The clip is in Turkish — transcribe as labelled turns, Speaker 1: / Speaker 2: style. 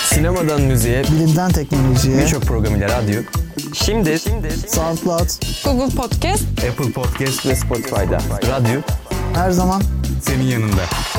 Speaker 1: Sinemadan müziğe,
Speaker 2: Bilimden teknolojiye,
Speaker 1: birçok program ile radyo. Şimdi,
Speaker 2: SoundCloud
Speaker 3: Google Podcast
Speaker 4: Apple Podcast
Speaker 1: ve Spotify'da radyo
Speaker 2: her zaman
Speaker 4: senin yanında.